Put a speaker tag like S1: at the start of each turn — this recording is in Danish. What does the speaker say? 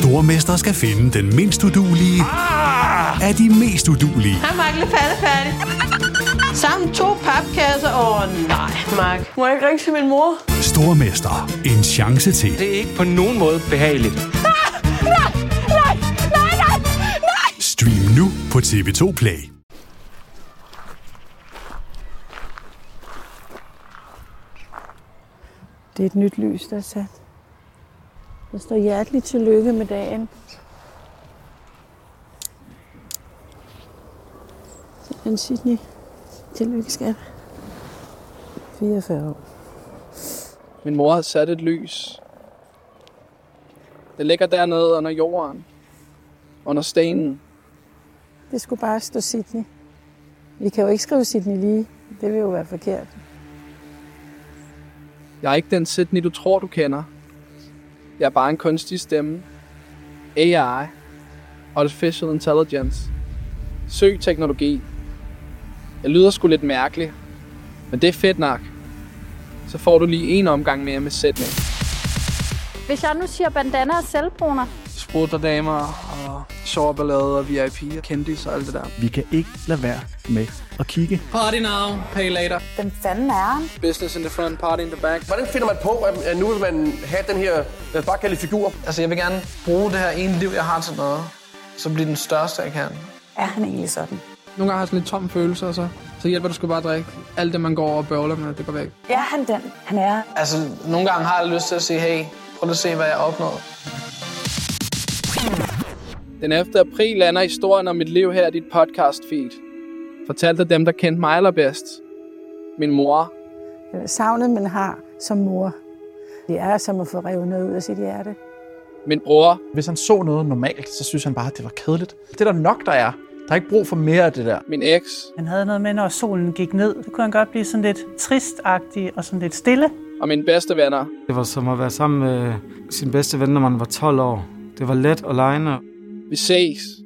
S1: Stormester skal finde den mindst udulige ah! af de mest udulige.
S2: Hej, Mark. Lidt færdig. Sammen to papkasser. Åh, oh, nej, Mark. Må jeg ikke ringe til min mor?
S1: Stormester. En chance til.
S3: Det er ikke på nogen måde behageligt.
S1: Stream nu på TV2 Play.
S4: Det er et nyt lys, der er sat. Der Altså, står hjerteligt tillykke med dagen. Sådan, Sydney. Tillykke, skat. 44 år.
S5: Min mor har sat et lys. Det ligger dernede under jorden. Under stenen.
S4: Det skulle bare stå Sydney. Vi kan jo ikke skrive Sydney lige. Det vil jo være forkert.
S5: Jeg er ikke den Sydney, du tror, du kender. Jeg er bare en kunstig stemme. AI. Artificial Intelligence. Søg teknologi. Jeg lyder sgu lidt mærkelig. Men det er fedt nok. Så får du lige en omgang mere med Sydney.
S6: Hvis jeg nu siger bandana og selvbruner,
S5: Sprutterdamer og sårballade og VIP og kendis og alt det der.
S7: Vi kan ikke lade være med at kigge.
S5: Party now, pay later.
S6: hvem fanden er han?
S5: Business in the front, party in the back.
S8: Hvordan finder man på, at- at nu vil man have den her, lad os bare kalde det figur?
S3: Altså, jeg vil gerne bruge det her ene liv, jeg har til noget. Så bliver den største, jeg kan.
S6: Er han egentlig sådan?
S5: Nogle gange har jeg sådan lidt tom følelse, og så, så hjælper du sgu bare at drikke. Alt det, man går og bøvler med, det går væk.
S6: Er han den? Han er.
S3: Altså, nogle gange har jeg lyst til at sige, hey, prøv lige at se, hvad jeg opnåede.
S5: Den 11. april lander historien om mit liv her i dit podcast feed. Fortalt af dem, der kendte mig allerbedst. Min mor.
S4: Øh, Savnet, man har som mor, det er som at få revet noget ud af sit hjerte.
S5: Min bror.
S7: Hvis han så noget normalt, så synes han bare, at det var kedeligt. Det er der nok, der er. Der er ikke brug for mere af det der.
S5: Min eks.
S9: Han havde noget med, når solen gik ned. Så kunne han godt blive sådan lidt tristagtig og sådan lidt stille.
S5: Og mine bedste venner.
S10: Det var som at være sammen med sin bedste ven, når man var 12 år. Det var let og lejende.
S5: Vi ses.